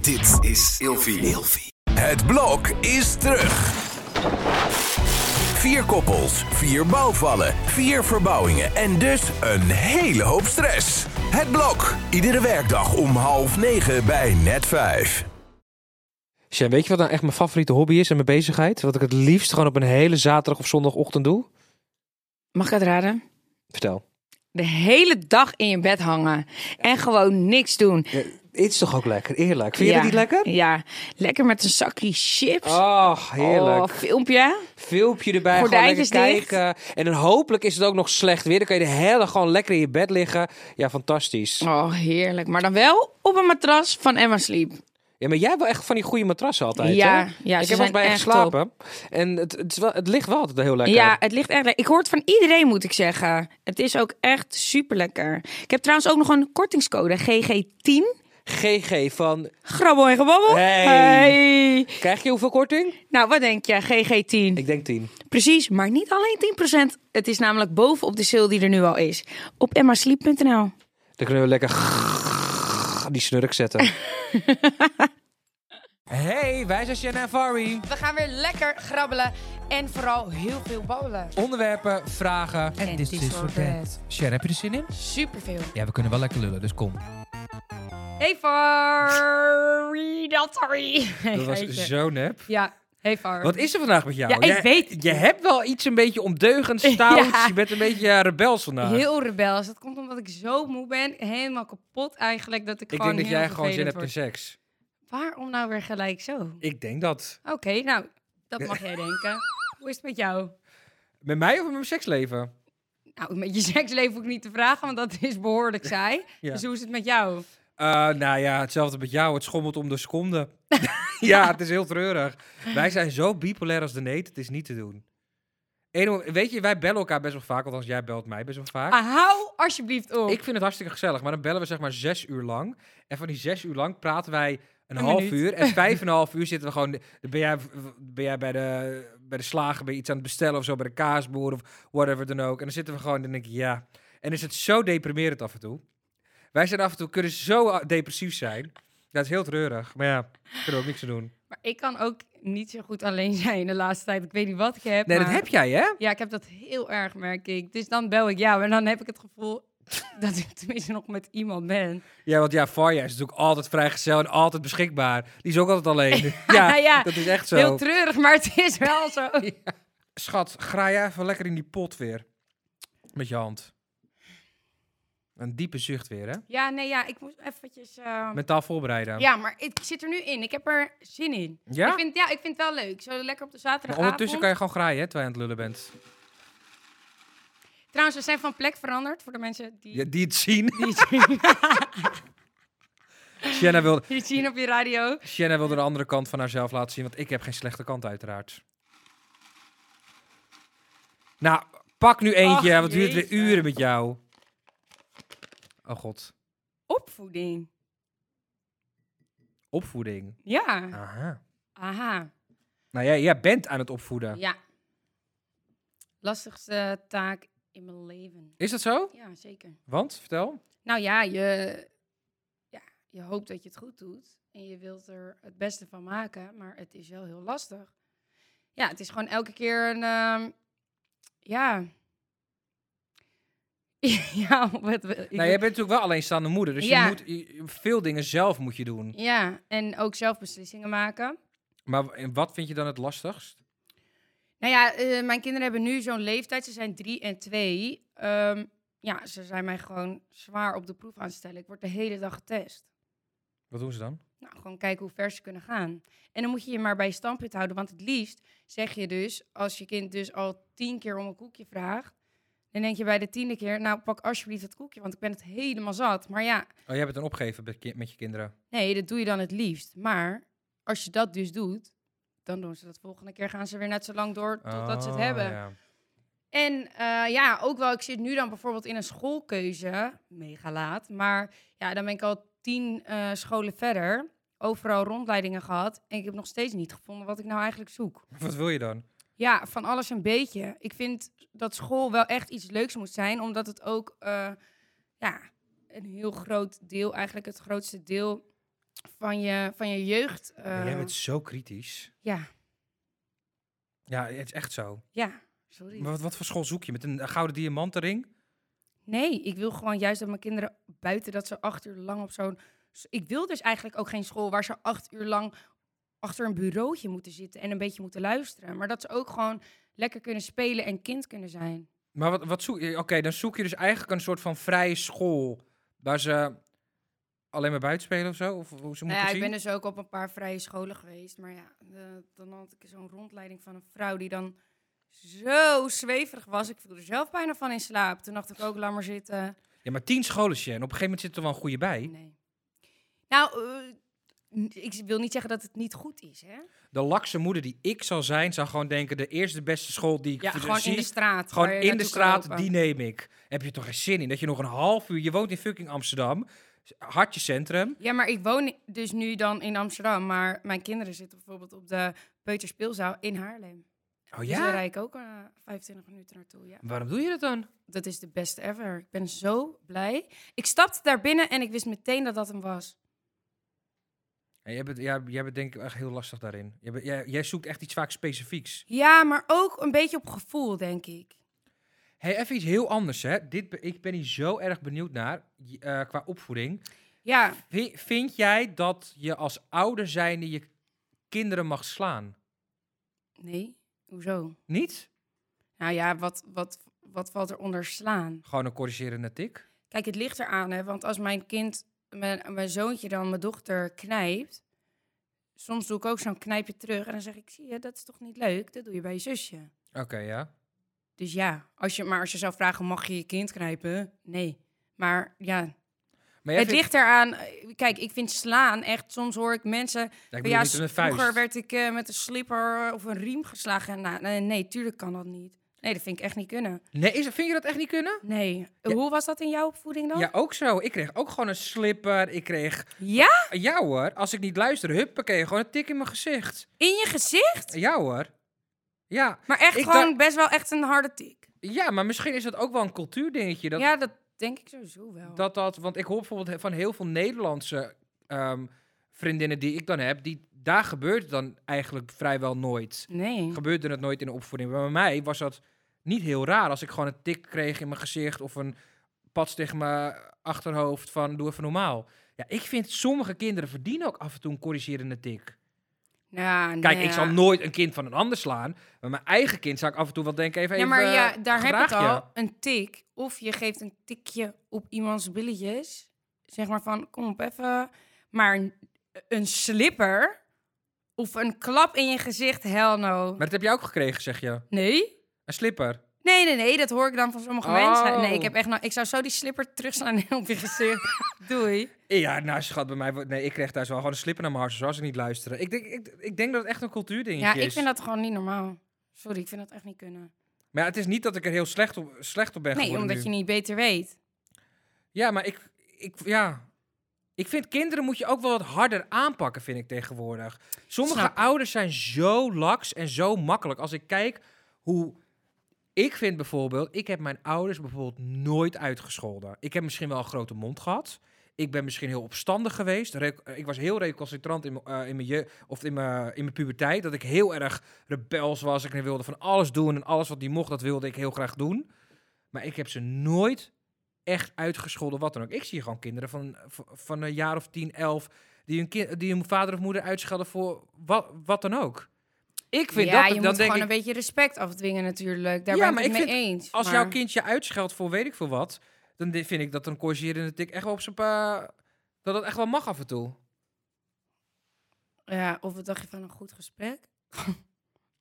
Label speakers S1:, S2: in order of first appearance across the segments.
S1: Dit is Ilfie. Het blok is terug. Vier koppels, vier bouwvallen, vier verbouwingen en dus een hele hoop stress. Het blok, iedere werkdag om half negen bij net vijf.
S2: Sjan, weet je wat nou echt mijn favoriete hobby is en mijn bezigheid? Wat ik het liefst gewoon op een hele zaterdag of zondagochtend doe?
S3: Mag ik het raden?
S2: Vertel.
S3: De hele dag in je bed hangen en gewoon niks doen. Vind
S2: Het is toch ook lekker, eerlijk. Vind je dat niet lekker?
S3: Ja, lekker met een zakje chips.
S2: Oh, heerlijk.
S3: Oh, filmpje.
S2: Filmpje erbij, gewoon lekker
S3: Gordijntjes
S2: kijken. En dan hopelijk is het ook nog slecht weer. Dan kan je de hele dag gewoon lekker in je bed liggen. Ja, fantastisch.
S3: Oh, heerlijk. Maar dan wel op een matras van Emma Sleep.
S2: Ja, maar jij hebt wel echt van die goede matrassen altijd,
S3: Ja,
S2: hè?
S3: ja, ze
S2: Ik heb
S3: zijn
S2: wel eens bij je
S3: echt
S2: geslapen. En het, het, is wel, het ligt wel altijd heel lekker.
S3: Ja, het ligt echt lekker. Ik hoor het van iedereen, moet ik zeggen. Het is ook echt super lekker. Ik heb trouwens ook nog een kortingscode, GG10.
S2: GG van,
S3: Grabbel en gebabbel.
S2: Hey.
S3: Hey.
S2: krijg je hoeveel korting?
S3: Nou, wat denk je? GG10.
S2: Ik denk 10.
S3: Precies, maar niet alleen 10%. Het is namelijk bovenop de sale die er nu al is. Op emmasleep.nl.
S2: Dan kunnen we lekker die snurk zetten. hey, wij zijn Shanna en Fari.
S4: We gaan weer lekker grabbelen en vooral heel veel babbelen.
S2: Onderwerpen, vragen.
S4: En dit is
S2: dus
S4: voor bed.
S2: Sher, heb je er zin in?
S4: Superveel.
S2: Ja, we kunnen wel lekker lullen, dus kom.
S4: Hey Fari, dat sorry.
S2: Dat was zo nep.
S4: Ja, hey Far.
S2: Wat is er vandaag met jou?
S4: Ja, ik
S2: Jij-
S4: weet het
S2: Je
S4: niet.
S2: hebt wel iets een beetje ondeugend, stout.
S4: Ja.
S2: Je bent een beetje eh, rebels vandaag.
S4: Heel rebels. Dat komt omdat ik zo moe ben. Helemaal kapot eigenlijk. Dat ik,
S2: ik
S4: gewoon
S2: denk dat
S4: heel
S2: jij gewoon zin
S4: vervelend
S2: hebt in seks.
S4: word. Waarom nou weer gelijk zo? Oké,
S2: Ik denk dat.
S4: nou, dat mag jij denken. Hoe is het met jou?
S2: Met mij of met mijn seksleven?
S4: Nou, met je seksleven hoef ik niet te vragen, want dat is behoorlijk saai.
S2: Ja.
S4: Dus hoe is het met jou?
S2: Eh, nou ja, hetzelfde met jou. Het schommelt om de seconde. ja, het is heel treurig. Wij zijn zo bipolair als de neet. Het is niet te doen. Eén moment- weet je, wij bellen elkaar best wel vaak. Althans, jij belt mij best wel vaak.
S4: Ah, hou alsjeblieft op.
S2: Ik vind het hartstikke gezellig. Maar dan bellen we zeg maar zes uur lang. En van die zes uur lang praten wij een,
S4: Een
S2: half
S4: minuut.
S2: uur. En vijf en een half uur zitten we gewoon... dan Ben jij, ben jij bij, de, bij de slager ben je iets aan het bestellen of zo. Bij de kaasboer of whatever dan ook. En dan zitten we gewoon en dan denk ik, ja. En is het zo deprimerend af en toe. Wij zijn af en toe, kunnen zo ah, depressief zijn. Dat is heel treurig. Maar ja, kunnen we ook niks aan doen.
S4: Maar ik kan ook niet zo goed alleen zijn de laatste tijd. Ik weet niet wat ik heb.
S2: Nee, dat
S4: maar-
S2: heb jij, hè?
S4: Ja, ik heb dat heel erg, merk ik. Dus dan bel ik jou en dan heb ik het gevoel dat ik tenminste nog met iemand ben.
S2: Ja, want ja, Farja is natuurlijk altijd vrijgezel en altijd beschikbaar. Die is ook altijd alleen. ja,
S4: Ja,
S2: dat is echt zo.
S4: Heel treurig, maar het is wel zo.
S2: Schat, graai jij even lekker in die pot weer. Met je hand. Een diepe zucht weer, hè?
S4: Ja, nee, ja, ik moest eventjes... eh,
S2: Mentaal voorbereiden.
S4: Ja, maar ik zit er nu in. Ik heb er zin in.
S2: Ja?
S4: Ik vind, ja, ik vind het wel leuk. Zo lekker op de
S2: Maar
S4: zaterdagavond.
S2: ondertussen kan je gewoon graaien, hè, terwijl je aan het lullen bent.
S4: Trouwens, we zijn van plek veranderd voor de mensen die...
S2: Ja, die het zien.
S4: Die, het zien,
S2: Shanna wilde,
S4: die het zien op je radio.
S2: Shanna wilde de andere kant van haarzelf laten zien, want ik heb geen slechte kant, uiteraard. Nou, pak nu eentje,
S4: Ach,
S2: want het duurt weer
S4: jezus.
S2: uren met jou. Oh god.
S4: Opvoeding.
S2: Opvoeding.
S4: Ja.
S2: Aha.
S4: Aha.
S2: Nou, jij, jij bent aan het opvoeden.
S4: Ja. Lastigste taak in mijn leven.
S2: Is dat zo?
S4: Ja, zeker.
S2: Want, vertel.
S4: Nou ja je, ja, je hoopt dat je het goed doet. En je wilt er het beste van maken. Maar het is wel heel lastig. Ja, het is gewoon elke keer een... ehm, ja... ja, wat... ik
S2: nou, jij bent natuurlijk wel alleenstaande moeder, dus je
S4: Ja.
S2: moet je- veel dingen zelf moet je doen.
S4: Ja, en ook zelf beslissingen maken.
S2: Maar w- en wat vind je dan het lastigst?
S4: Nou ja, eh, mijn kinderen hebben nu zo'n leeftijd. Ze zijn drie en twee. Ehm, ja, ze zijn mij gewoon zwaar op de proef aan het stellen. Ik word de hele dag getest.
S2: Wat doen ze dan?
S4: Nou, gewoon kijken hoe ver ze kunnen gaan. En dan moet je je maar bij je standpunt houden. Want het liefst zeg je dus, als je kind dus al tien keer om een koekje vraagt... dan denk je bij de tiende keer, nou pak alsjeblieft het koekje... want ik ben het helemaal zat. Maar ja,
S2: Oh, jij bent een opgeven met, ki- met je kinderen.
S4: nee, dat doe je dan het liefst. Maar als je dat dus doet, dan doen ze dat volgende keer... gaan ze weer net zo lang door totdat ze het
S2: Oh,
S4: hebben.
S2: ja.
S4: En eh, ja, ook wel, ik zit nu dan bijvoorbeeld in een schoolkeuze, mega laat, maar ja, dan ben ik al tien eh, scholen verder, overal rondleidingen gehad en ik heb nog steeds niet gevonden wat ik nou eigenlijk zoek.
S2: Wat wil je dan?
S4: Ja, van alles een beetje. Ik vind dat school wel echt iets leuks moet zijn, omdat het ook, eh, ja, een heel groot deel, eigenlijk het grootste deel van je, van je jeugd. eh,
S2: Jij bent zo kritisch.
S4: Ja,
S2: Ja, het is echt zo.
S4: ja, sorry.
S2: Maar wat, wat voor school zoek je? Met een eh, gouden diamantenring?
S4: Nee, ik wil gewoon juist dat mijn kinderen buiten dat ze acht uur lang op zo'n... Ik wil dus eigenlijk ook geen school waar ze acht uur lang achter een bureautje moeten zitten en een beetje moeten luisteren. Maar dat ze ook gewoon lekker kunnen spelen en kind kunnen zijn.
S2: Maar wat, wat zoek je? Oké, dan zoek je dus eigenlijk een soort van vrije school. Waar ze alleen maar buiten spelen of zo? Of hoe ze
S4: Nou
S2: moeten
S4: ja,
S2: zien?
S4: ik ben dus ook op een paar vrije scholen geweest. Maar ja, de- dan had ik zo'n rondleiding van een vrouw die dan zo zweverig was. Ik viel er zelf bijna van in slaap. Toen dacht ik ook, laat maar zitten.
S2: Ja, maar tien scholen, Sjen. Op een gegeven moment zit er wel een goede bij.
S4: Nee. Nou, eh, n- ik wil niet zeggen dat het niet goed is, hè?
S2: De lakse moeder die ik zal zijn, zou gewoon denken... de eerste beste school die ik
S4: Ja,
S2: v-
S4: gewoon
S2: zie...
S4: in de straat.
S2: gewoon
S4: waar je
S2: in de
S4: naartoe kan
S2: straat,
S4: lopen.
S2: die neem ik. Heb je toch geen zin in dat je nog een half uur... Je woont in fucking Amsterdam. Hartje centrum.
S4: Ja, maar ik woon i- dus nu dan in Amsterdam. Maar mijn kinderen zitten bijvoorbeeld op de Peuterspeelzaal in Haarlem.
S2: Oh
S4: Dus daar
S2: ja?
S4: rijd ik ook eh, 25 minuten naartoe, ja.
S2: Waarom doe je dat dan?
S4: Dat is de beste ever. Ik ben zo blij. Ik stapte daar binnen en ik wist meteen dat dat hem was.
S2: Ja, jij, bent, ja, jij bent denk ik echt heel lastig daarin. Jij, bent- jij, jij zoekt echt iets vaak specifieks.
S4: Ja, maar ook een beetje op gevoel, denk ik.
S2: Hey, even iets heel anders, hè. Dit, be- ik ben hier zo erg benieuwd naar, j- eh, qua opvoeding.
S4: Ja,
S2: Vi- vind jij dat je als ouder zijnde je kinderen mag slaan?
S4: nee. Hoezo?
S2: Niet?
S4: Nou ja, wat, wat, wat valt er onder slaan?
S2: Gewoon een corrigerende tik?
S4: Kijk, het ligt eraan, hè. Want als mijn kind, mijn, mijn zoontje dan, mijn dochter knijpt... Soms doe ik ook zo'n knijpje terug en dan zeg ik... Zie je, dat is toch niet leuk? Dat doe je bij je zusje.
S2: Oké, ja.
S4: Dus ja, als je, maar als je zou vragen, mag je je kind knijpen? Nee. Maar ja,
S2: Maar jij
S4: het
S2: vindt-
S4: ligt eraan... eh, Kijk, ik vind slaan echt... Soms hoor ik mensen...
S2: Ja, ik
S4: van,
S2: bedoel
S4: ja,
S2: niet
S4: s-
S2: met een vuist.
S4: vroeger werd ik eh, met een slipper of een riem geslagen. En, nou, nee, nee, tuurlijk kan dat niet. Nee, dat vind ik echt niet kunnen.
S2: Nee, is, vind je dat echt niet kunnen?
S4: Nee.
S2: Ja.
S4: Hoe was dat in jouw opvoeding dan?
S2: Ja, ook zo. Ik kreeg ook gewoon een slipper. Ik kreeg...
S4: Ja?
S2: Ja hoor, als ik niet luister, huppakee, gewoon een tik in mijn gezicht.
S4: In je gezicht?
S2: Ja hoor. Ja,
S4: Maar echt
S2: Ik
S4: gewoon best wel echt een harde tik.
S2: ja, maar misschien is dat ook wel een cultuurdingetje. Dat,
S4: ja, dat denk ik sowieso wel.
S2: dat dat, want ik hoor bijvoorbeeld he- van heel veel Nederlandse ehm, vriendinnen die ik dan heb, die, daar gebeurt het dan eigenlijk vrijwel nooit.
S4: Nee.
S2: Gebeurde het nooit in de opvoeding. Maar bij mij was dat niet heel raar als ik gewoon een tik kreeg in mijn gezicht of een pats tegen mijn achterhoofd van doe even normaal. Ja, ik vind sommige kinderen verdienen ook af en toe een corrigerende tik.
S4: Ja, nou
S2: Kijk, ik zal
S4: ja.
S2: nooit een kind van een ander slaan, maar mijn eigen kind zou ik af en toe wel denken even
S4: Ja, maar
S2: even,
S4: ja,
S2: eh,
S4: daar heb ik het
S2: gedraag je.
S4: al. Een tik. Of je geeft een tikje op iemands billetjes. Zeg maar van, kom op even. Maar een, een slipper of een klap in je gezicht, hell no.
S2: Maar dat heb je ook gekregen, zeg je.
S4: Nee?
S2: Een slipper.
S4: Nee, nee, nee, dat hoor ik dan van sommige
S2: Oh.
S4: mensen. Nee, ik, heb echt nou, ik zou zo die slipper terugslaan op je gezicht. Doei.
S2: Ja, nou schat, bij mij... wordt- Nee, ik kreeg thuis wel gewoon een slipper naar mijn hart, zoals ik niet luisteren. Ik denk, ik, ik denk dat het echt een cultuurdingetje
S4: Ja,
S2: is.
S4: ik vind dat gewoon niet normaal. Sorry, ik vind dat echt niet kunnen.
S2: Maar ja, het is niet dat ik er heel slecht op, slecht op ben
S4: Nee,
S2: geworden
S4: omdat
S2: nu.
S4: je niet beter weet.
S2: Ja, maar ik, ik... Ja... Ik vind kinderen moet je ook wel wat harder aanpakken, vind ik tegenwoordig. Sommige
S4: Snap ik.
S2: ouders zijn zo laks en zo makkelijk. Als ik kijk hoe... Ik vind bijvoorbeeld... Ik heb mijn ouders bijvoorbeeld nooit uitgescholden. Ik heb misschien wel een grote mond gehad. Ik ben misschien heel opstandig geweest. Rec- eh, ik was heel reconcentrant in mijn eh, in mijn je- of in mijn in mijn puberteit. Dat ik heel erg rebels was. Ik wilde van alles doen en alles wat die mocht, dat wilde ik heel graag doen. Maar ik heb ze nooit echt uitgescholden, wat dan ook. Ik zie gewoon kinderen van, van, van een jaar of 10, 11, die hun, kind, die hun vader of moeder uitschelden voor wat, wat dan ook. Ik vind
S4: ja,
S2: dat,
S4: je
S2: dan
S4: moet
S2: denk
S4: gewoon
S2: ik,
S4: een beetje respect afdwingen natuurlijk. Daar
S2: Ja,
S4: ben ik
S2: maar
S4: het
S2: ik
S4: mee eens.
S2: als
S4: maar-
S2: jouw kind je uitscheldt voor weet ik veel wat, dan di- vind ik dat een corrigerende tik echt wel op zijn pa... Dat dat echt wel mag af en toe.
S4: Ja, of wat dacht je van een goed gesprek?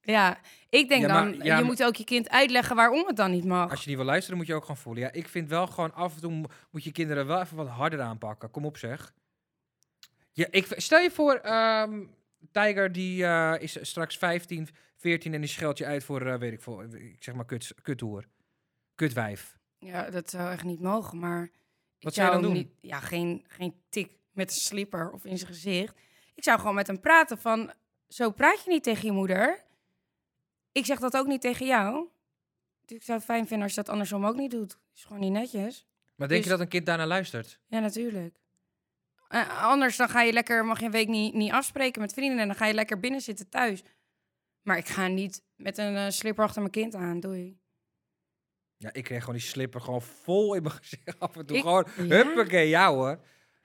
S4: ja, ik denk
S2: Ja, maar-
S4: dan,
S2: ja,
S4: je
S2: maar-
S4: moet ook je kind uitleggen waarom het dan niet mag.
S2: Als je niet wil luisteren, moet je ook gewoon voelen. Ja, ik vind wel gewoon af en toe mo- moet je kinderen wel even wat harder aanpakken. Kom op, zeg. Ja, ik, v- stel je voor, ehm Tiger die eh, is straks 15, 14 en die scheldt je uit voor, eh, weet ik veel, ik zeg maar kut, kuthoer. Kutwijf.
S4: Ja, dat zou echt niet mogen, maar... ik
S2: Wat zou je dan
S4: hem
S2: doen?
S4: Niet, ja, geen, geen tik met een slipper of in zijn gezicht. Ik zou gewoon met hem praten van, zo praat je niet tegen je moeder. Ik zeg dat ook niet tegen jou. Dus ik zou het fijn vinden als je dat andersom ook niet doet. Is gewoon niet netjes.
S2: Maar denk je
S4: Dus-
S2: dat een kind daarna luistert?
S4: Ja, natuurlijk. Eh, anders dan ga je lekker, mag je een week niet, niet afspreken met vrienden en dan ga je lekker binnen zitten thuis. Maar ik ga niet met een eh, slipper achter mijn kind aan, doei.
S2: Ja, ik kreeg gewoon die slipper gewoon vol in mijn gezicht af en toe.
S4: Ik-
S2: gewoon, huppakee, ja hoor.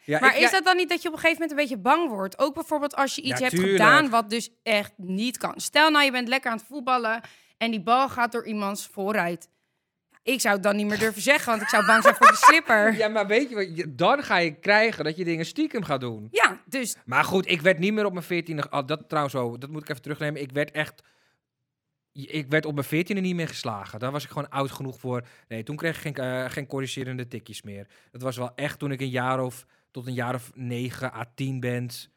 S2: Ja,
S4: maar
S2: ik-
S4: is
S2: ja,
S4: dat dan niet dat je op een gegeven moment een beetje bang wordt? Ook bijvoorbeeld als je iets
S2: Ja,
S4: hebt
S2: tuurlijk.
S4: gedaan wat dus echt niet kan. Stel nou, je bent lekker aan het voetballen en die bal gaat door iemands vooruit. Ik zou het dan niet meer durven zeggen, want ik zou bang zijn voor de slipper. Ja,
S2: Ja, maar weet je wat? je- Dan ga je krijgen dat je dingen stiekem gaat doen.
S4: dus
S2: Maar goed, ik werd niet meer op mijn veertiende... Oh, dat trouwens zo, dat moet ik even terugnemen. Ik werd echt... Ik werd op mijn veertiende niet meer geslagen. Daar was ik gewoon oud genoeg voor. Nee, toen kreeg ik geen, eh, geen corrigerende tikjes meer. Dat was wel echt toen ik een jaar of... Tot een jaar of negen à tien bent.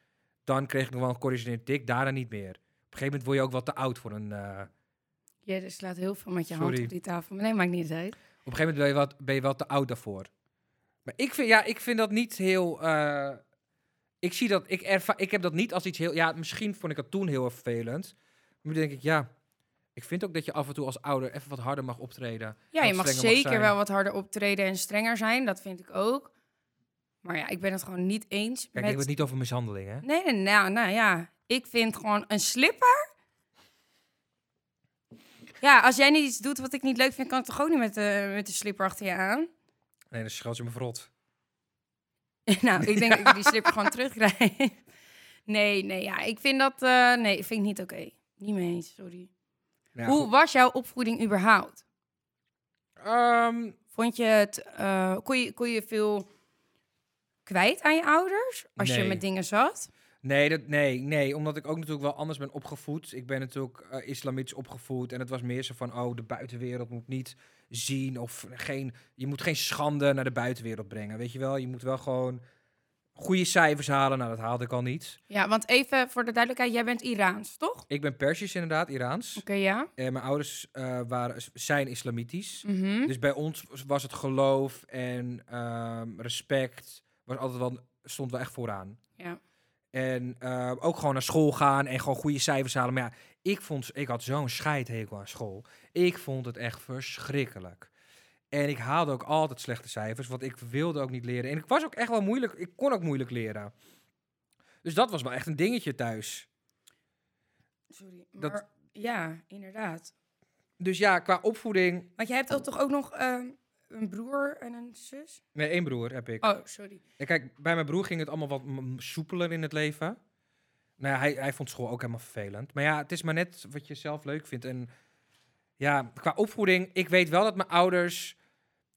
S2: Dan kreeg ik nog wel een corrigerende tik. Daarna niet meer. Op een gegeven moment word je ook wel te oud voor een... eh,
S4: je dus slaat heel veel met je hand
S2: Sorry.
S4: op die tafel. Maar nee, maakt niet uit.
S2: Op een gegeven moment ben je, wat, ben je wel te oud daarvoor. Maar ik vind, ja, ik vind dat niet heel. eh, ik zie dat. Ik, erva- ik heb dat niet als iets heel. Ja, misschien vond ik het toen heel erg vervelend. Maar nu denk ik, ja. Ik vind ook dat je af en toe als ouder even wat harder mag optreden.
S4: Ja,
S2: Wat
S4: je mag
S2: strenger mag
S4: zeker
S2: zijn.
S4: wel wat harder optreden en strenger zijn. Dat vind ik ook. Maar ja, ik ben het gewoon niet eens
S2: Kijk, ik
S4: met...
S2: heb het niet over mishandeling, hè?
S4: Nee, nee, nou, nou ja. Ik vind gewoon een slipper... Ja, als jij niet iets doet wat ik niet leuk vind... kan ik toch ook niet met de, met de slipper achter je aan?
S2: Nee, dan scheld je me verrot.
S4: nou, ik denk dat ik die slipper gewoon terugkrijg. Nee, nee, ja. Ik vind dat... eh, nee, vind ik niet oké. Niet mee eens, sorry.
S2: Nou,
S4: Hoe
S2: goed.
S4: was jouw opvoeding überhaupt?
S2: Ehm,
S4: Vond je het, eh, kon, je, kon je veel kwijt aan je ouders als
S2: Nee.
S4: je met dingen zat?
S2: Nee, dat, nee, nee, omdat ik ook natuurlijk wel anders ben opgevoed. Ik ben natuurlijk eh, islamitisch opgevoed en het was meer zo van, oh, de buitenwereld moet niet zien of geen, je moet geen schande naar de buitenwereld brengen, weet je wel? Je moet wel gewoon goede cijfers halen. Nou, dat haalde ik al niet.
S4: Ja, want even voor de duidelijkheid, jij bent Iraans, toch? Oké,
S2: Ik ben Persisch inderdaad,
S4: Hm.
S2: Iraans.
S4: ja.
S2: En mijn ouders eh, waren, zijn islamitisch.
S4: Mhm.
S2: Dus bij ons was het geloof en ehm, respect was altijd wel, stond wel echt vooraan.
S4: Ja.
S2: En eh, ook gewoon naar school gaan en gewoon goede cijfers halen. Maar ja, ik, vond, ik had zo'n scheidhekel aan school. Ik vond het echt verschrikkelijk. En ik haalde ook altijd slechte cijfers, want ik wilde ook niet leren. En ik was ook echt wel moeilijk, ik kon ook moeilijk leren. Dus dat was wel echt een dingetje thuis.
S4: Sorry, maar
S2: Dat-
S4: ja, inderdaad.
S2: Dus ja, qua opvoeding...
S4: Want jij hebt ook toch ook nog ehm, een broer en een zus?
S2: Nee, één broer heb ik.
S4: Oh, sorry.
S2: En kijk, bij mijn broer ging het allemaal wat m- soepeler in het leven. Nou ja, hij, hij vond school ook helemaal vervelend. Maar ja, het is maar net wat je zelf leuk vindt. En ja, qua opvoeding, ik weet wel dat mijn ouders...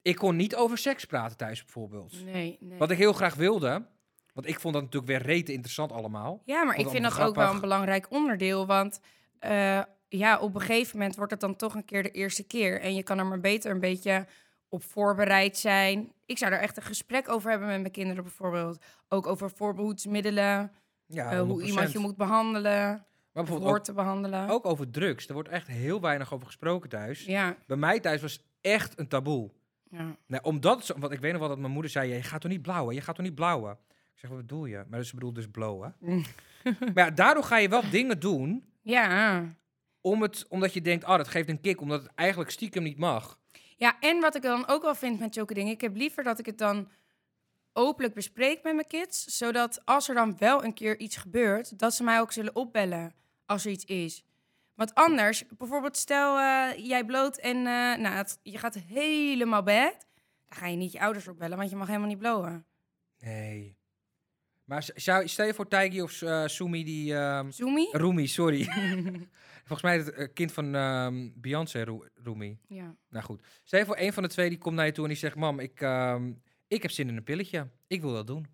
S2: Ik kon niet over seks praten thuis bijvoorbeeld.
S4: Nee, nee.
S2: Wat ik heel graag wilde. Want ik vond dat natuurlijk weer rete interessant allemaal.
S4: Ja, maar
S2: Vond
S4: ik
S2: het
S4: vind dat
S2: allemaal
S4: ook wel een
S2: grappig.
S4: belangrijk onderdeel. Want eh, ja, op een gegeven moment wordt het dan toch een keer de eerste keer. En je kan er maar beter een beetje op voorbereid zijn. Ik zou er echt een gesprek over hebben met mijn kinderen bijvoorbeeld. Ook over voorbehoedsmiddelen,
S2: Ja,
S4: eh, hoe
S2: 100%.
S4: iemand je moet behandelen,
S2: Maar
S4: of
S2: bijvoorbeeld
S4: hoort
S2: ook,
S4: te behandelen.
S2: ook over drugs. Er wordt echt heel weinig over gesproken thuis.
S4: Ja,
S2: Bij mij thuis was echt een taboe.
S4: ja.
S2: Nee, omdat, ze- want ik weet nog wel dat mijn moeder zei: Je gaat toch niet blauwen? Je gaat toch niet blauwen? Ik zeg: Wat bedoel je? Maar ze bedoelt dus blowen. maar ja, daardoor ga je wel dingen doen
S4: ja.
S2: om het, omdat je denkt: Oh, dat geeft een kick, omdat het eigenlijk stiekem niet mag.
S4: Ja, en wat ik dan ook wel vind met zulke dingen, ik heb liever dat ik het dan openlijk bespreek met mijn kids, zodat als er dan wel een keer iets gebeurt, dat ze mij ook zullen opbellen als er iets is. Want anders, bijvoorbeeld stel eh, jij bloot en eh, nou, het- je gaat helemaal bed, dan ga je niet je ouders opbellen, want je mag helemaal niet blowen.
S2: Nee. Maar z- zou, stel je voor Taigi of eh Sumi die. ehm
S4: Zoomie?
S2: Rumi, sorry. Volgens mij is het eh, kind van ehm, Beyoncé, Ru- Rumi.
S4: Ja.
S2: Nou goed. Stel je voor een van de twee die komt naar je toe en die zegt: Mam, ik, ehm, ik heb zin in een pilletje. Ik wil dat doen.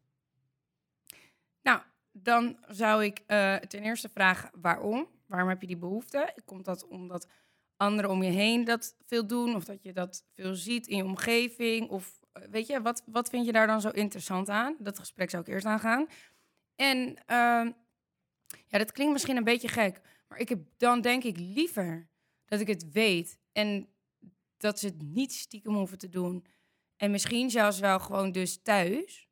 S4: Nou, dan zou ik eh, ten eerste vragen waarom? Waarom heb je die behoefte? Komt dat omdat anderen om je heen dat veel doen? Of dat je dat veel ziet in je omgeving? Of eh, weet je, wat, wat vind je daar dan zo interessant aan? Dat gesprek zou ik eerst aangaan. En ehm, ja, dat klinkt misschien een beetje gek. Maar ik heb dan denk ik liever dat ik het weet. En dat ze het niet stiekem hoeven te doen. En misschien zelfs wel gewoon dus thuis.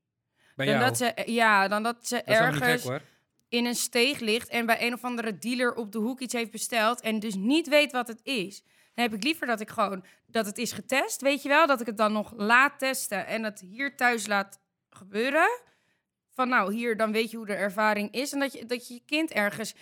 S2: Bij
S4: Dan
S2: jou.
S4: dat ze, ja, dan dat ze
S2: dat is helemaal niet
S4: ergens
S2: gek hoor.
S4: in een steeg ligt en bij een of andere dealer op de hoek iets heeft besteld en dus niet weet wat het is. Dan heb ik liever dat ik gewoon dat het is getest, weet je wel, dat ik het dan nog laat testen en dat hier thuis laat gebeuren. van nou hier, dan weet je hoe de ervaring is. En dat je dat je, je kind ergens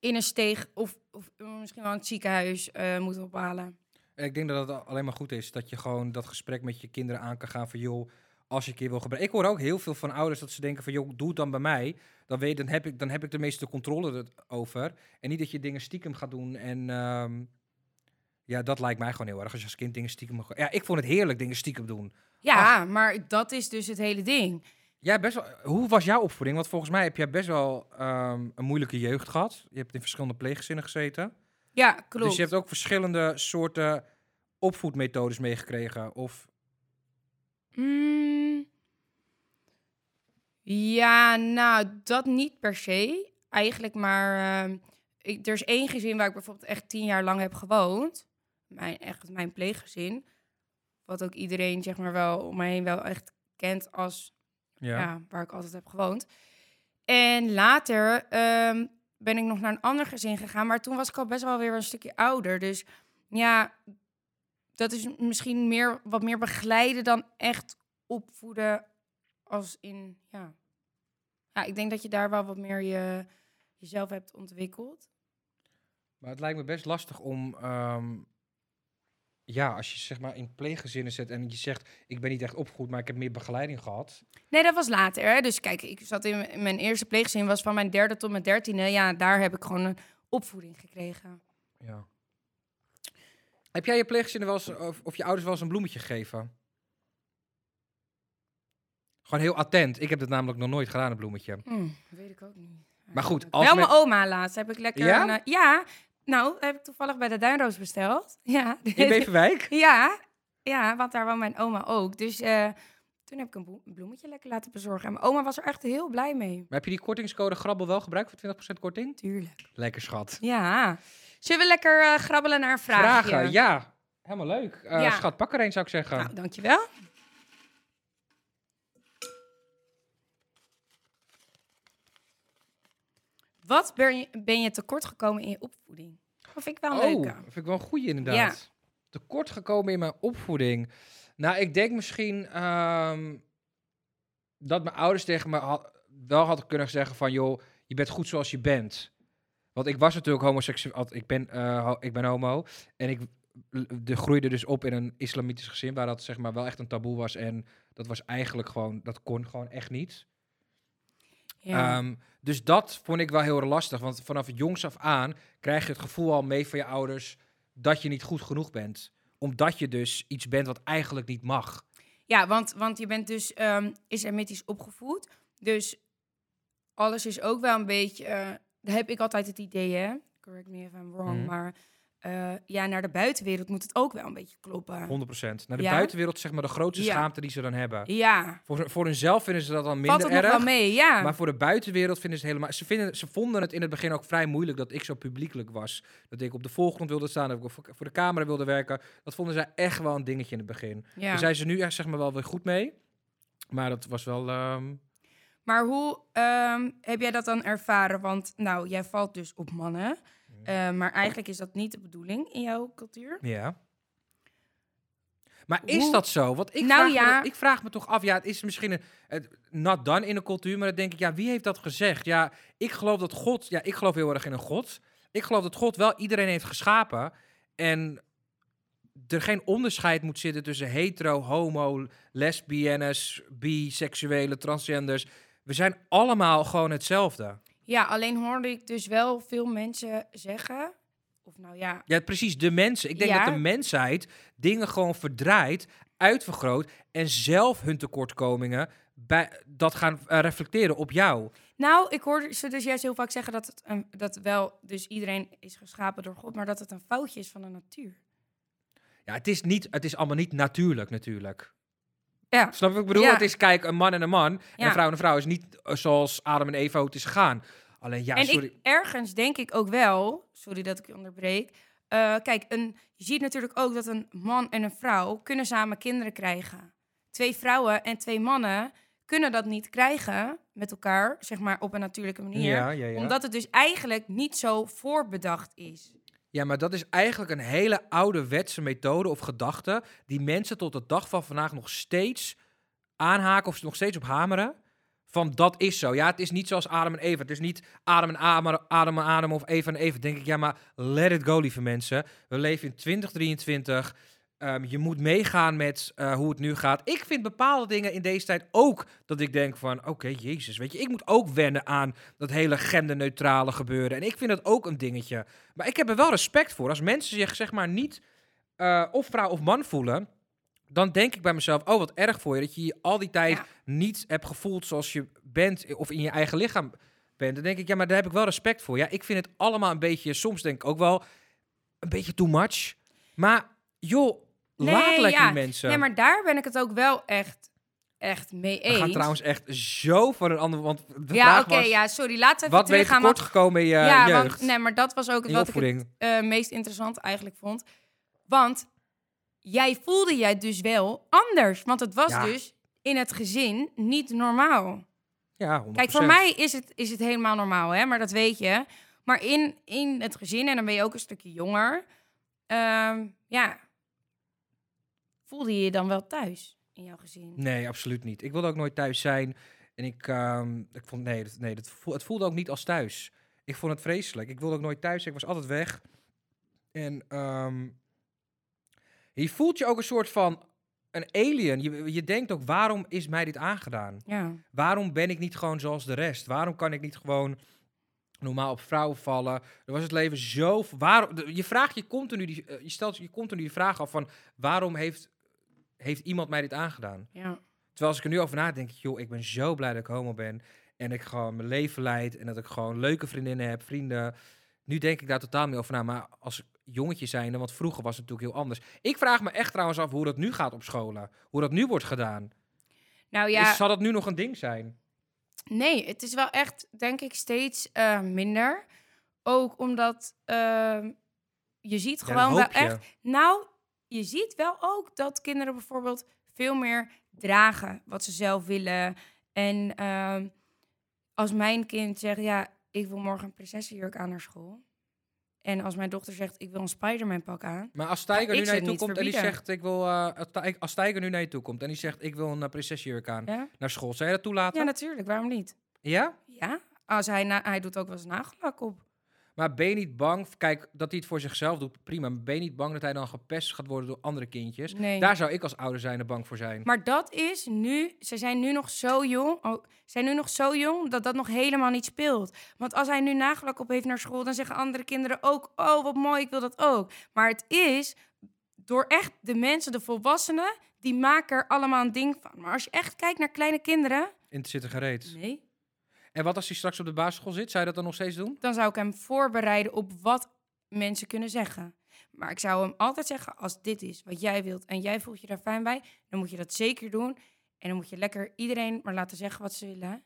S4: in een steeg of, of eh, misschien wel een ziekenhuis eh, moet ophalen.
S2: En ik denk dat het alleen maar goed is dat je gewoon dat gesprek met je kinderen aan kan gaan van joh, als je een keer wil gebruiken. Ik hoor ook heel veel van ouders dat ze denken van joh, doe het dan bij mij. Dan, weet, dan, heb, ik, dan heb ik de meeste controle er- over. En niet dat je dingen stiekem gaat doen. En ehm, ja, dat lijkt mij gewoon heel erg. Als je als kind dingen stiekem... mag- Ja, ik vond het heerlijk dingen stiekem doen.
S4: Ja, maar dat is dus het hele ding.
S2: Jij best wel, hoe was jouw opvoeding? Want volgens mij heb jij best wel ehm, een moeilijke jeugd gehad. Je hebt in verschillende pleeggezinnen gezeten.
S4: Ja, klopt.
S2: Dus je hebt ook verschillende soorten opvoedmethodes meegekregen. Of
S4: Mm. Ja, nou, dat niet per se. Eigenlijk maar... ehm, ik, er is één gezin waar ik bijvoorbeeld echt tien jaar lang heb gewoond. Mijn, echt mijn pleeggezin. Wat ook iedereen zeg maar wel om mij heen wel echt kent als ja. waar ik altijd heb gewoond. En later ehm, ben ik nog naar een ander gezin gegaan, maar toen was ik al best wel weer een stukje ouder. Dus ja, dat is misschien meer, wat meer begeleiden dan echt opvoeden als in, ja. Ja, ik denk dat je daar wel wat meer je, jezelf hebt ontwikkeld.
S2: Maar het lijkt me best lastig om. ehm, ja, als je zeg maar in pleeggezinnen zit en je zegt: Ik ben niet echt opgegroeid, maar ik heb meer begeleiding gehad.
S4: Nee, dat was later. Hè? Dus kijk, ik zat in in mijn eerste pleeggezin, was van mijn derde tot mijn dertiende. Ja, daar heb ik gewoon een opvoeding gekregen.
S2: Ja. Heb jij je pleeggezinnen wel eens, of, of je ouders wel eens een bloemetje gegeven? Gewoon heel attent. Ik heb dat namelijk nog nooit gedaan, een bloemetje.
S4: Mm, weet ik ook niet. Ah,
S2: Maar goed,
S4: Wel
S2: als
S4: mijn
S2: men-
S4: oma laatst heb ik lekker.
S2: Ja?
S4: een, eh, ja, nou heb ik toevallig bij de Duinroos besteld. Ja,
S2: In Beverwijk?
S4: ja, ja, want daar woont mijn oma ook. Dus eh, toen heb ik een boe- bloemetje lekker laten bezorgen. En mijn oma was er echt heel blij mee.
S2: Maar heb je die kortingscode grabbel wel gebruikt voor 20% korting?
S4: Tuurlijk.
S2: Lekker schat.
S4: Ja. Zullen we lekker eh, grabbelen naar een vraagje?
S2: Vragen, ja. Helemaal leuk. Eh,
S4: Ja.
S2: Schat, pak er een, zou ik zeggen.
S4: Nou, dankjewel. Wat ben je, ben je tekortgekomen in je opvoeding? Dat vind ik wel een
S2: oh,
S4: leuke.
S2: vind ik wel een goeie inderdaad. Tekort gekomen in mijn opvoeding. Nou, ik denk misschien ehm, dat mijn ouders tegen me ha- wel hadden kunnen zeggen van... joh, je bent goed zoals je bent. Want ik was natuurlijk homoseksueel. al- Ik ben, eh, ho- ik ben homo. En ik l- de groeide dus op in een islamitisch gezin... waar dat zeg maar wel echt een taboe was. En dat was eigenlijk gewoon... dat kon gewoon echt niet.
S4: Ja.
S2: Ehm, dus dat vond ik wel heel erg lastig. Want vanaf jongs af aan krijg je het gevoel al mee van je ouders dat je niet goed genoeg bent. Omdat je dus iets bent wat eigenlijk niet mag.
S4: Ja, want, want je bent dus ehm islamitisch opgevoed. Dus alles is ook wel een beetje... eh, daar heb ik altijd het idee, hè? Correct me if I'm wrong.
S2: Mhm.
S4: Maar eh, ja, naar de buitenwereld moet het ook wel een beetje
S2: 100%.
S4: kloppen.
S2: Naar de
S4: Ja?
S2: buitenwereld zeg maar de grootste
S4: Ja.
S2: schaamte die ze dan hebben.
S4: Ja,
S2: Voor, voor hunzelf vinden ze dat dan
S4: valt
S2: minder
S4: het nog wel
S2: erg.
S4: mee, ja.
S2: Maar voor de buitenwereld vinden ze het helemaal... Ze, vinden, ze vonden het in het begin ook vrij moeilijk dat ik zo publiekelijk was. Dat ik op de voorgrond wilde staan, dat ik voor- voor de camera wilde werken. Dat vonden zij echt wel een dingetje in het begin.
S4: ja.
S2: Daar zijn ze nu echt zeg maar wel weer goed mee. Maar dat was wel... ehm,
S4: Maar hoe ehm, heb jij dat dan ervaren? Want nou, jij valt dus op mannen. eh, maar eigenlijk is dat niet de bedoeling in jouw cultuur.
S2: Ja. Maar is
S4: Hoe-
S2: dat zo? Want ik,
S4: Nou
S2: vraag me,
S4: ja.
S2: dat- ik vraag me toch af, ja, het is misschien een, het- not done in de cultuur, maar dan denk ik, ja, wie heeft dat gezegd? Ja, ik geloof dat God, ja, ik geloof heel erg in een God. Ik geloof dat God wel iedereen heeft geschapen en er geen onderscheid moet zitten tussen hetero, homo, lesbiennes, biseksuele, transgenders. We zijn allemaal gewoon hetzelfde.
S4: Ja, alleen hoorde ik dus wel veel mensen zeggen. Of nou ja,
S2: Ja, precies, de mensen. Ik denk
S4: Ja.
S2: dat de mensheid dingen gewoon verdraait, uitvergroot en zelf hun tekortkomingen bij, dat gaan eh, reflecteren op jou.
S4: Nou, ik hoor ze dus juist heel vaak zeggen dat het een, dat wel, dus iedereen is geschapen door God, maar dat het een foutje is van de natuur.
S2: Ja, het is, niet, het is allemaal niet natuurlijk, natuurlijk.
S4: Ja.
S2: Snap je wat ik bedoel?
S4: Ja.
S2: Het is, kijk, een man en een man en
S4: Ja.
S2: een vrouw en een vrouw is niet eh, zoals Adam en Eva het is gegaan. Alleen, ja,
S4: en
S2: sorry.
S4: ik ergens denk ik ook wel, sorry dat ik je onderbreek. eh, kijk, een, je ziet natuurlijk ook dat een man en een vrouw kunnen samen kinderen krijgen. Twee vrouwen en twee mannen kunnen dat niet krijgen met elkaar, zeg maar op een natuurlijke manier.
S2: Ja, ja, ja.
S4: Omdat het dus eigenlijk niet zo voorbedacht is.
S2: Ja, maar dat is eigenlijk een hele ouderwetse methode of gedachte die mensen tot de dag van vandaag nog steeds aanhaken of nog steeds op hameren. van dat is zo. Ja, het is niet zoals Adam en Eva. Het is niet Adam en Adam, Adam en Adam of Eva en Eva. Denk ik, ja, maar let it go, lieve mensen. We leven in 2023. Ehm, je moet meegaan met eh, hoe het nu gaat. Ik vind bepaalde dingen in deze tijd ook dat ik denk van... Oké, jezus, weet je, ik moet ook wennen aan dat hele genderneutrale gebeuren. En ik vind dat ook een dingetje. Maar ik heb er wel respect voor. Als mensen zich zeg maar niet eh, of vrouw of man voelen... Dan denk ik bij mezelf, oh wat erg voor je. Dat je je al die tijd
S4: Ja.
S2: niet hebt gevoeld zoals je bent. Of in je eigen lichaam bent. Dan denk ik, ja maar daar heb ik wel respect voor. Ja, ik vind het allemaal een beetje, soms denk ik ook wel... Een beetje too much. Maar joh, laat lekker
S4: ja.
S2: die mensen.
S4: Nee, maar daar ben ik het ook wel echt, echt mee
S2: We
S4: eens.
S2: gaan trouwens echt zo van een ander... Want de
S4: ja,
S2: vraag
S4: oké,
S2: was,
S4: ja, sorry. Laten we
S2: wat
S4: even
S2: ben je
S4: teruggaan. want-
S2: tekortgekomen in je
S4: ja,
S2: jeugd?
S4: want nee, maar dat was ook
S2: in je
S4: wat ik het
S2: opvoeding?
S4: eh, meest interessant eigenlijk vond. Want jij voelde jij dus wel anders. Want het was
S2: Ja.
S4: dus in het gezin niet normaal.
S2: Ja, 100%.
S4: Kijk, voor mij is het, is het helemaal normaal, hè? maar dat weet je. Maar in, in het gezin, en dan ben je ook een stukje jonger, ehm, ja, voelde je je dan wel thuis in jouw gezin?
S2: Nee, absoluut niet. Ik wilde ook nooit thuis zijn. En ik, ehm, ik vond... Nee, dat, nee dat voel- het voelde ook niet als thuis. Ik vond het vreselijk. Ik wilde ook nooit thuis zijn. Ik was altijd weg. En ehm, je voelt je ook een soort van... Een alien. Je, je denkt ook, waarom is mij dit aangedaan?
S4: Ja.
S2: waarom ben ik niet gewoon zoals de rest? Waarom kan ik niet gewoon normaal op vrouwen vallen? Er was het leven zo. Waarom, de- je vraagt je continu, die, eh, je stelt je continu die vraag af van waarom heeft, heeft iemand mij dit aangedaan?
S4: ja.
S2: Terwijl als ik er nu over nadenk, joh, ik ben zo blij dat ik homo ben en ik gewoon mijn leven leid en dat ik gewoon leuke vriendinnen heb, vrienden. Nu denk ik daar totaal niet over na, maar als jongetje zijnde, want vroeger was het natuurlijk heel anders. Ik vraag me echt trouwens af hoe dat nu gaat op scholen, hoe dat nu wordt gedaan.
S4: Nou ja,
S2: Is, zal dat nu nog een ding zijn?
S4: nee, het is wel echt, denk ik, steeds eh, minder. Ook omdat ehm, je ziet
S2: Ja,
S4: gewoon
S2: dat
S4: wel
S2: hoop je.
S4: echt Nou, je ziet wel ook dat kinderen bijvoorbeeld veel meer dragen wat ze zelf willen. En ehm, als mijn kind zegt, ja, ik wil morgen een prinsessenjurk aan naar school. En als mijn dochter zegt, ik wil een Spider-Man pak aan.
S2: Maar als Tiger
S4: ik
S2: nu
S4: zou
S2: naar je
S4: het
S2: toe
S4: niet
S2: komt en die
S4: verbieden.
S2: zegt ik wil eh, als Ti- als Tiger nu naar je toe komt en die zegt ik wil een eh, prinsesjurk aan
S4: Ja,
S2: naar school, zou je dat toelaten?
S4: ja
S2: Ja,
S4: natuurlijk, waarom niet? Ja, als hij, na- hij doet ook wel eens nagellak op.
S2: Maar ben je niet bang? Kijk, dat hij het voor zichzelf doet, prima. Maar ben je niet bang dat hij dan gepest gaat worden door andere kindjes?
S4: Nee.
S2: Dus Daar zou ik als ouder zijnde bang voor zijn.
S4: Maar dat is nu, ze zijn nu nog zo jong, oh, ze zijn nu nog zo jong dat dat nog helemaal niet speelt. Want als hij nu nagelak op heeft naar school, dan zeggen andere kinderen ook, oh wat mooi, ik wil dat ook. Maar het is door echt de mensen, de volwassenen, die maken er allemaal een ding van. Maar als je echt kijkt naar kleine kinderen,
S2: In het zitten gereed.
S4: nee.
S2: En wat als hij straks op de basisschool zit? Zou je dat dan nog steeds doen?
S4: dan zou ik hem voorbereiden op wat mensen kunnen zeggen. Maar ik zou hem altijd zeggen, als dit is wat jij wilt en jij voelt je daar fijn bij, dan moet je dat zeker doen. En dan moet je lekker iedereen maar laten zeggen wat ze willen.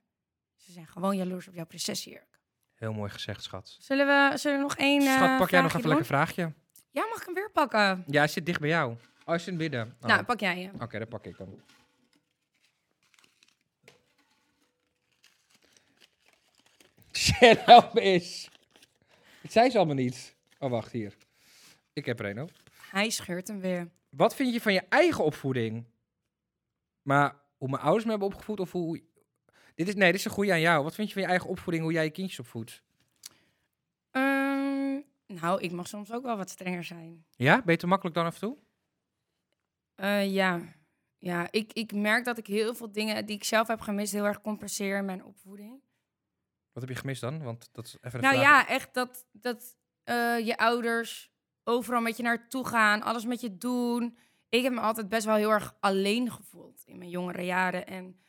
S4: Ze zijn gewoon jaloers op jouw prinsessenjurk.
S2: Heel mooi gezegd, schat.
S4: Zullen we, zullen we nog één eh
S2: Schat, pak jij nog
S4: vraagje
S2: even
S4: doen?
S2: lekker vraagje?
S4: Ja, mag ik hem weer pakken?
S2: Ja, hij zit dicht bij jou. Oh, hij zit in het midden. Oh.
S4: Nou, pak jij hem.
S2: Oké, dat pak ik dan. Shit, help me eens. Het zei ze allemaal niet. Oh, wacht, hier. Ik heb er een ook.
S4: Hij scheurt hem weer.
S2: Wat vind je van je eigen opvoeding? Maar hoe mijn ouders me hebben opgevoed of hoe... Dit is, nee, dit is een goeie aan jou. Wat vind je van je eigen opvoeding, hoe jij je kindjes opvoedt?
S4: Ehm, nou, ik mag soms ook wel wat strenger zijn.
S2: Ja? Ben je te makkelijk dan af en toe?
S4: Eh, ja, ja ik, ik merk dat ik heel veel dingen die ik zelf heb gemist heel erg compenseer in mijn opvoeding.
S2: Wat heb je gemist dan? Want dat is even een
S4: Nou
S2: vraag.
S4: ja, echt dat, dat eh, je ouders overal met je naartoe gaan, alles met je doen. Ik heb me altijd best wel heel erg alleen gevoeld in mijn jongere jaren. En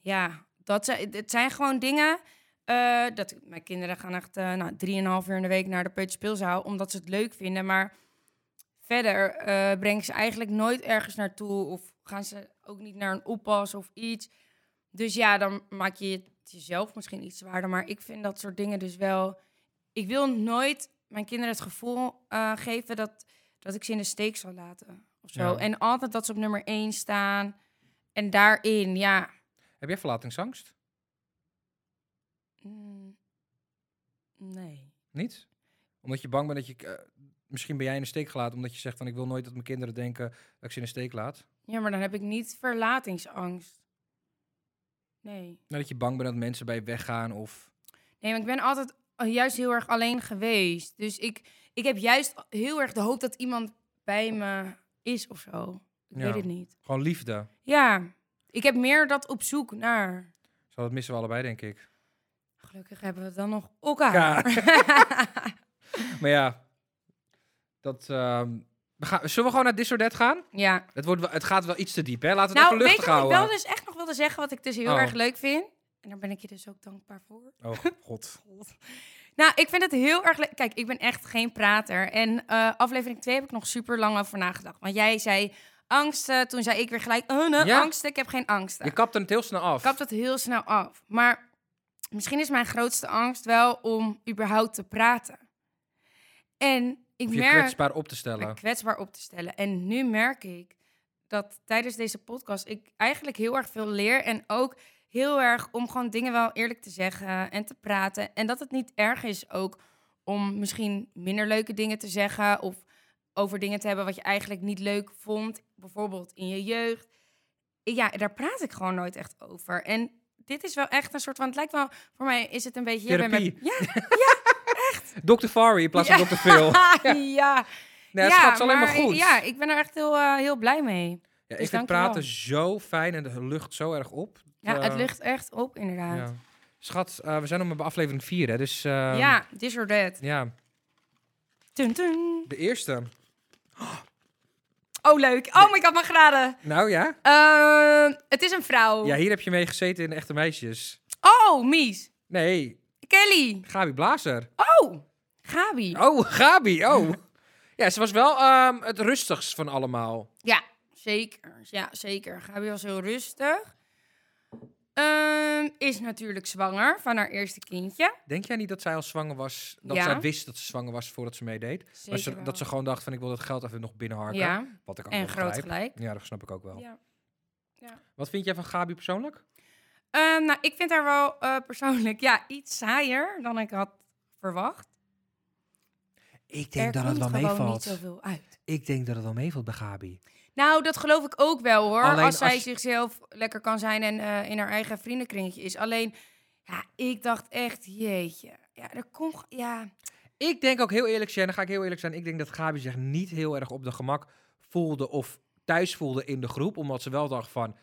S4: ja, dat zijn, het zijn gewoon dingen. eh, dat, mijn kinderen gaan echt eh nou, drieënhalf uur in de week naar de peuterspeelzaal, omdat ze het leuk vinden. Maar verder eh breng ik ze eigenlijk nooit ergens naartoe. Of gaan ze ook niet naar een oppas of iets. Dus ja, dan maak je het jezelf misschien iets zwaarder. Maar ik vind dat soort dingen dus wel. Ik wil nooit mijn kinderen het gevoel eh, geven dat, dat ik ze in de steek zal laten. Of zo.
S2: Ja.
S4: En altijd dat ze op nummer één staan. En daarin, ja.
S2: Heb jij verlatingsangst?
S4: mm, nee.
S2: Niet? Omdat je bang bent dat je... eh, misschien ben jij in de steek gelaten omdat je zegt van... ik wil nooit dat mijn kinderen denken dat ik ze in de steek laat.
S4: Ja, maar dan heb ik niet verlatingsangst. Nee.
S2: Nou, dat je bang bent dat mensen bij je weggaan of...
S4: Nee, maar ik ben altijd eh, juist heel erg alleen geweest. Dus ik, ik heb juist heel erg de hoop dat iemand bij me is of zo. Ik
S2: Ja.
S4: weet het niet.
S2: Gewoon liefde.
S4: Ja, ik heb meer dat op zoek naar.
S2: Zo, dat missen we allebei, denk ik.
S4: Gelukkig hebben we dan nog elkaar.
S2: Elkaar. Maar ja, dat... ehm, we gaan, zullen we gewoon naar Disordet gaan?
S4: ja.
S2: Het, wordt, wel- het gaat wel iets te diep, hè? Laten we het
S4: Nou,
S2: even
S4: weet je
S2: luchtig
S4: wat ik wel
S2: houden.
S4: dus echt nog wilde zeggen, wat ik dus heel
S2: Oh.
S4: erg leuk vind? En daar ben ik je dus ook dankbaar voor.
S2: Oh, god.
S4: Nou, ik vind het heel erg leuk. Kijk, ik ben echt geen prater. En eh, aflevering 2 heb ik nog super lang over nagedacht. Want jij zei angsten. Toen zei ik weer gelijk, oh nee,
S2: Ja.
S4: angsten. Ik heb geen angsten.
S2: Je kapt het heel snel af.
S4: Ik kap dat heel snel af. Maar misschien is mijn grootste angst wel om überhaupt te praten. En ik
S2: Of je
S4: merk
S2: kwetsbaar op te
S4: me
S2: stellen.
S4: kwetsbaar op te stellen. En nu merk ik dat tijdens deze podcast ik eigenlijk heel erg veel leer. En ook heel erg om gewoon dingen wel eerlijk te zeggen en te praten. En dat het niet erg is ook om misschien minder leuke dingen te zeggen. Of over dingen te hebben wat je eigenlijk niet leuk vond. Bijvoorbeeld in je jeugd. Ja, daar praat ik gewoon nooit echt over. En dit is wel echt een soort van... Het lijkt wel... Voor mij is het een beetje... jij bent met-
S2: Therapie. Dr. Fari in plaats van Dr. Phil.
S4: ja. ja.
S2: Nee, het gaat alleen maar goed.
S4: Ja, ik ben er echt heel, eh, heel blij mee.
S2: Ja,
S4: Dus
S2: ik vind
S4: dankjewel.
S2: praten zo fijn en de lucht zo erg op.
S4: Ja,
S2: Eh,
S4: het ligt echt op, inderdaad.
S2: ja. Schat, eh, we zijn nog maar bij aflevering 4, hè? Dus
S4: Ja,
S2: eh,
S4: this or that.
S2: ja,
S4: Tun, tun.
S2: de eerste.
S4: Oh, leuk. Oh my god, mag raden.
S2: Nou ja.
S4: Eh, het is een vrouw.
S2: Ja, hier heb je mee gezeten in de Echte Meisjes.
S4: Oh, Mies.
S2: Nee,
S4: Kelly.
S2: Gabi Blazer.
S4: Oh, Gabi.
S2: Oh, Gabi, oh. Ja, ze was wel ehm, het rustigst van allemaal.
S4: Ja, zeker. Ja, zeker. Gabi was heel rustig. Ehm, is natuurlijk zwanger van haar eerste kindje.
S2: Denk jij niet dat zij al zwanger was? Dat
S4: Ja.
S2: zij wist dat ze zwanger was voordat ze meedeed? Maar ze-
S4: wel.
S2: dat ze gewoon dacht van ik wil dat geld even nog binnenharken.
S4: Ja,
S2: Wat ik ook
S4: en
S2: wel
S4: groot
S2: begrijp.
S4: gelijk.
S2: Ja, dat snap ik ook wel.
S4: Ja.
S2: Wat vind jij van Gabi persoonlijk?
S4: Ehm, nou, ik vind haar wel eh, persoonlijk ja, iets saaier dan ik had verwacht.
S2: Ik
S4: er komt gewoon niet zoveel uit.
S2: Ik denk dat het wel meevalt bij Gabi.
S4: Nou, dat geloof ik ook wel hoor.
S2: Alleen
S4: als zij
S2: als-
S4: zichzelf lekker kan zijn en eh, in haar eigen vriendenkringetje is. Alleen, ja, ik dacht echt, jeetje. Ja, er komt. ge- Ja,
S2: Ik denk ook heel eerlijk zijn, dan ga ik heel eerlijk zijn. Ik denk dat Gabi zich niet heel erg op de gemak voelde of thuis voelde in de groep. Omdat ze wel dacht van,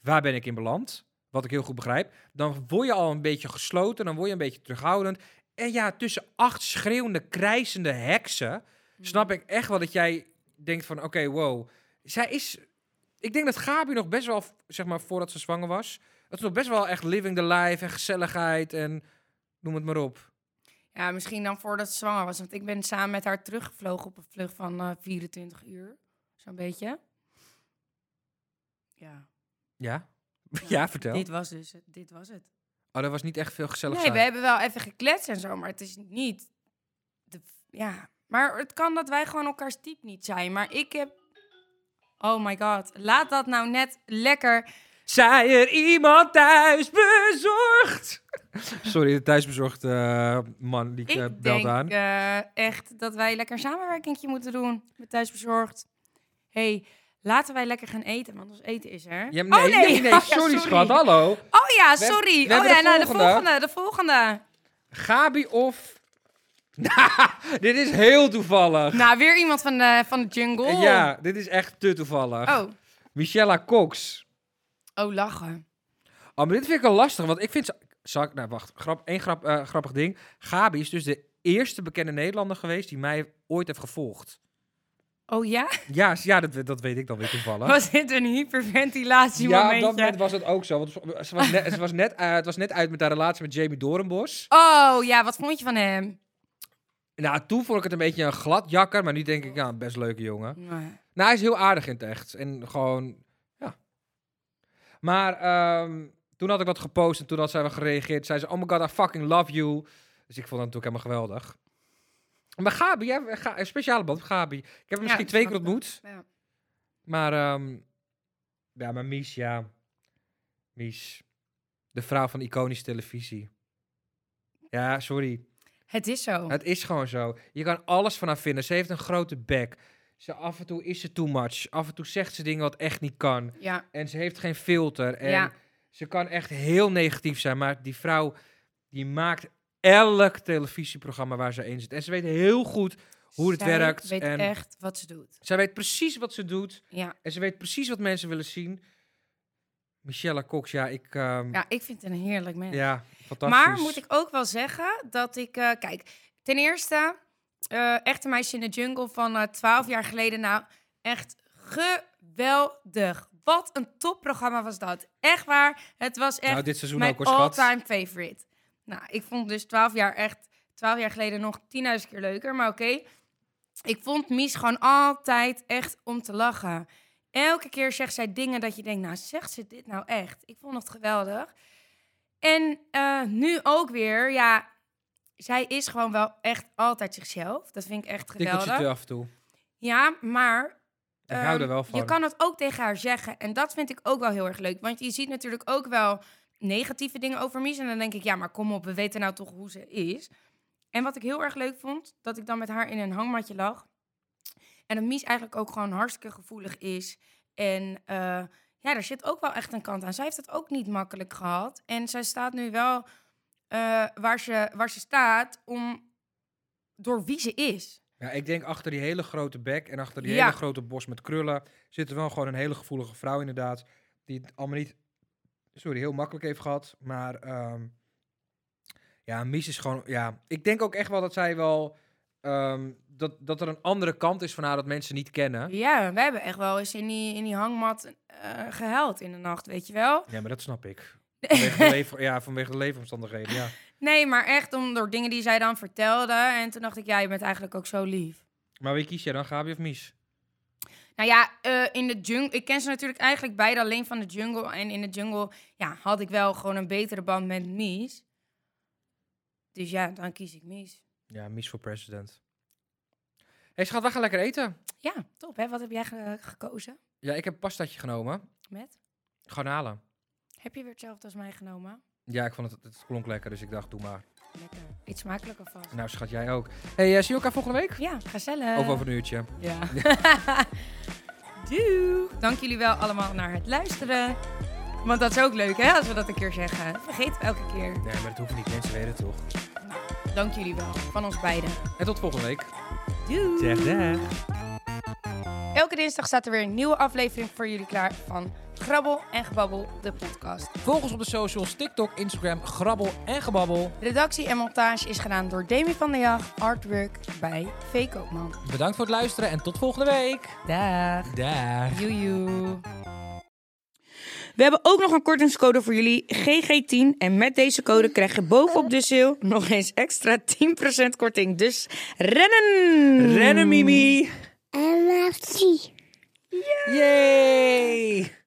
S2: waar ben ik in beland? Wat ik heel goed begrijp. Dan word je al een beetje gesloten, dan word je een beetje terughoudend. En ja, tussen acht schreeuwende, krijzende heksen... snap ik echt wel dat jij denkt van, oké, wow. Zij is... Ik denk dat Gabi nog best wel, zeg maar, voordat ze zwanger was... dat ze nog best wel echt living the life en gezelligheid en noem het maar op.
S4: ja, misschien dan voordat ze zwanger was. Want ik ben samen met haar teruggevlogen op een vlucht van eh, 24 uur. Zo'n beetje. Ja.
S2: Ja? Ja, vertel.
S4: Dit was dus het. Dit was het.
S2: Oh, dat was niet echt veel gezellig
S4: Nee, we hebben wel even gekletst en zo, maar het is niet. De, ja, maar het kan dat wij gewoon elkaars type niet zijn. Maar ik heb. Oh my god, laat dat nou net lekker.
S2: Zij er iemand thuis bezorgd? Sorry, de thuisbezorgde eh, man die
S4: Ik
S2: eh, belt
S4: denk
S2: aan.
S4: eh, echt dat wij lekker een samenwerkingje moeten doen met thuisbezorgd. hey, laten wij lekker gaan eten, want ons eten is er.
S2: Ja,
S4: oh,
S2: nee, nee, nee,
S4: Oh ja,
S2: sorry, schat, hallo.
S4: Oh ja,
S2: We heb-
S4: sorry.
S2: we
S4: oh
S2: hebben
S4: ja,
S2: de
S4: nou, de
S2: volgende.
S4: volgende, de volgende.
S2: Gabi of... dit is heel toevallig.
S4: Nou, weer iemand van de, van de jungle.
S2: Ja, dit is echt te toevallig.
S4: Oh,
S2: Michella Cox.
S4: oh, lachen.
S2: Oh, maar dit vind ik wel lastig, want ik vind... ze- Zal ik... Nou, wacht. Grap, één grap, eh, grappig ding. Gabi is dus de eerste bekende Nederlander geweest die mij ooit heeft gevolgd.
S4: Oh ja?
S2: Ja, ja dat, dat weet ik dan weer toevallig.
S4: Was dit een hyperventilatie
S2: Ja, op dat
S4: momentje?
S2: moment was het ook zo. Want ze was net, ze was net, eh, het was net uit met haar relatie met Jamie Dorenbos.
S4: Oh ja, wat vond je van hem?
S2: Nou, toen vond ik het een beetje een gladjakker. Maar nu denk ik, ja, een best leuke jongen. Nou, hij is heel aardig in het echt. En gewoon, ja. Maar ehm, toen had ik wat gepost en toen had zij wel gereageerd. Zei ze, oh my god, I fucking love you. Dus ik vond dat natuurlijk helemaal geweldig. Maar Gabi, ja, Ga- een speciale band met Gabi. Ik heb hem
S4: Ja,
S2: misschien
S4: dat
S2: twee keer
S4: snap ik
S2: ontmoet.
S4: Ja.
S2: Maar, ehm, ja, maar Mies, ja. Mies. De vrouw van iconische televisie. Ja, sorry.
S4: Het is zo.
S2: Het is gewoon zo. Je kan alles van haar vinden. Ze heeft een grote bek. Ze, af en toe is ze too much. Af en toe zegt ze dingen wat echt niet kan.
S4: Ja.
S2: En ze heeft geen filter. En
S4: Ja.
S2: Ze kan echt heel negatief zijn, maar die vrouw die maakt elk televisieprogramma waar ze in zit. En ze weet heel goed hoe het
S4: Zij
S2: werkt.
S4: weet
S2: en
S4: echt wat ze doet.
S2: Zij weet precies wat ze doet.
S4: Ja.
S2: En ze weet precies wat mensen willen zien. Michelle Cox, ja, ik... ehm, ja.
S4: ja, ik vind het een heerlijk mens.
S2: fantastisch.
S4: Maar moet ik ook wel zeggen dat ik... eh, kijk, ten eerste... eh Echte Meisje in de Jungle van eh, 12 jaar geleden. Nou, echt geweldig. Wat een topprogramma was dat. Echt waar. Het was echt
S2: nou, dit seizoen
S4: mijn
S2: ook, hoor, schat.
S4: all-time favorite. Nou, ik vond dus 12 jaar echt, 12 jaar geleden nog 10.000 keer leuker, maar oké. Ik vond Mies gewoon altijd echt om te lachen. Elke keer zegt zij dingen dat je denkt, nou zegt ze dit nou echt? Ik vond het geweldig. En eh, nu ook weer, ja, zij is gewoon wel echt altijd zichzelf. Dat vind ik echt
S2: Tikkeltje te
S4: geweldig.
S2: af en toe.
S4: Ja, maar
S2: Ik hou
S4: Ehm,
S2: er wel van.
S4: Je kan het ook tegen haar zeggen. En dat vind ik ook wel heel erg leuk. Want je ziet natuurlijk ook wel negatieve dingen over Mies. En dan denk ik, ja, maar kom op, we weten nou toch hoe ze is. En wat ik heel erg leuk vond, dat ik dan met haar in een hangmatje lag. En dat Mies eigenlijk ook gewoon hartstikke gevoelig is. En eh, ja, daar zit ook wel echt een kant aan. Zij heeft het ook niet makkelijk gehad. En zij staat nu wel eh, waar, ze, waar ze staat om door wie ze is.
S2: Ja, ik denk achter die hele grote bek en achter die
S4: Ja.
S2: hele grote bos met krullen zit er wel gewoon een hele gevoelige vrouw inderdaad. Die het allemaal niet, sorry, heel makkelijk heeft gehad. Maar ehm, ja, Mies is gewoon, ja. Ik denk ook echt wel dat zij wel, ehm, dat, dat er een andere kant is van haar dat mensen niet kennen.
S4: Ja, wij hebben echt wel eens in die, in die hangmat eh, gehuild in de nacht, weet je wel.
S2: Ja, maar dat snap ik. Vanwege de, leef, ja, vanwege de leefomstandigheden, ja.
S4: Nee, maar echt om, door dingen die zij dan vertelde. En toen dacht ik, ja, je bent eigenlijk ook zo lief.
S2: Maar wie kies jij dan, Gabi of Mies?
S4: Nou ja, eh, in de jungle. Ik ken ze natuurlijk eigenlijk beide alleen van de jungle. En in de jungle ja, had ik wel gewoon een betere band met Mies. Dus ja, dan kies ik Mies.
S2: Ja, Mies voor president. Hé hey, schat, we gaan lekker eten.
S4: Ja, top hè. Wat heb jij ge- gekozen
S2: Ja, ik heb een pastaatje genomen.
S4: met?
S2: Garnalen.
S4: Heb je weer hetzelfde als mij genomen?
S2: Ja, ik vond het, het klonk lekker, dus ik dacht, doe maar.
S4: Lekker. Iets smakelijker vast.
S2: Nou, schat jij ook. hey, eh, zie je elkaar volgende week?
S4: Ja, gezellig.
S2: Of over een uurtje.
S4: Ja. Doeg! Dank jullie wel allemaal naar het luisteren. Want dat is ook leuk, hè, als we dat een keer zeggen. Vergeet het elke keer.
S2: Nee, maar dat hoeft niet. Mensen weten het toch.
S4: Dank jullie wel, van ons beiden.
S2: En tot volgende week.
S4: Doei!
S2: dag.
S4: Elke dinsdag staat er weer een nieuwe aflevering voor jullie klaar van Grabbel en Gebabbel, de podcast.
S2: Volg ons op de socials, TikTok, Instagram, Grabbel en Gebabbel.
S4: Redactie en montage is gedaan door Demi van der Jag, artwork bij V. Koopman.
S2: Bedankt voor het luisteren en tot volgende week.
S4: Dag!
S2: Dag.
S4: Joejoe!
S3: We hebben ook nog een kortingscode voor jullie, GG10. En met deze code krijg je bovenop de sale nog eens extra 10% korting. Dus rennen!
S2: Rennen, Mimi.
S5: I love tea.
S2: Yay.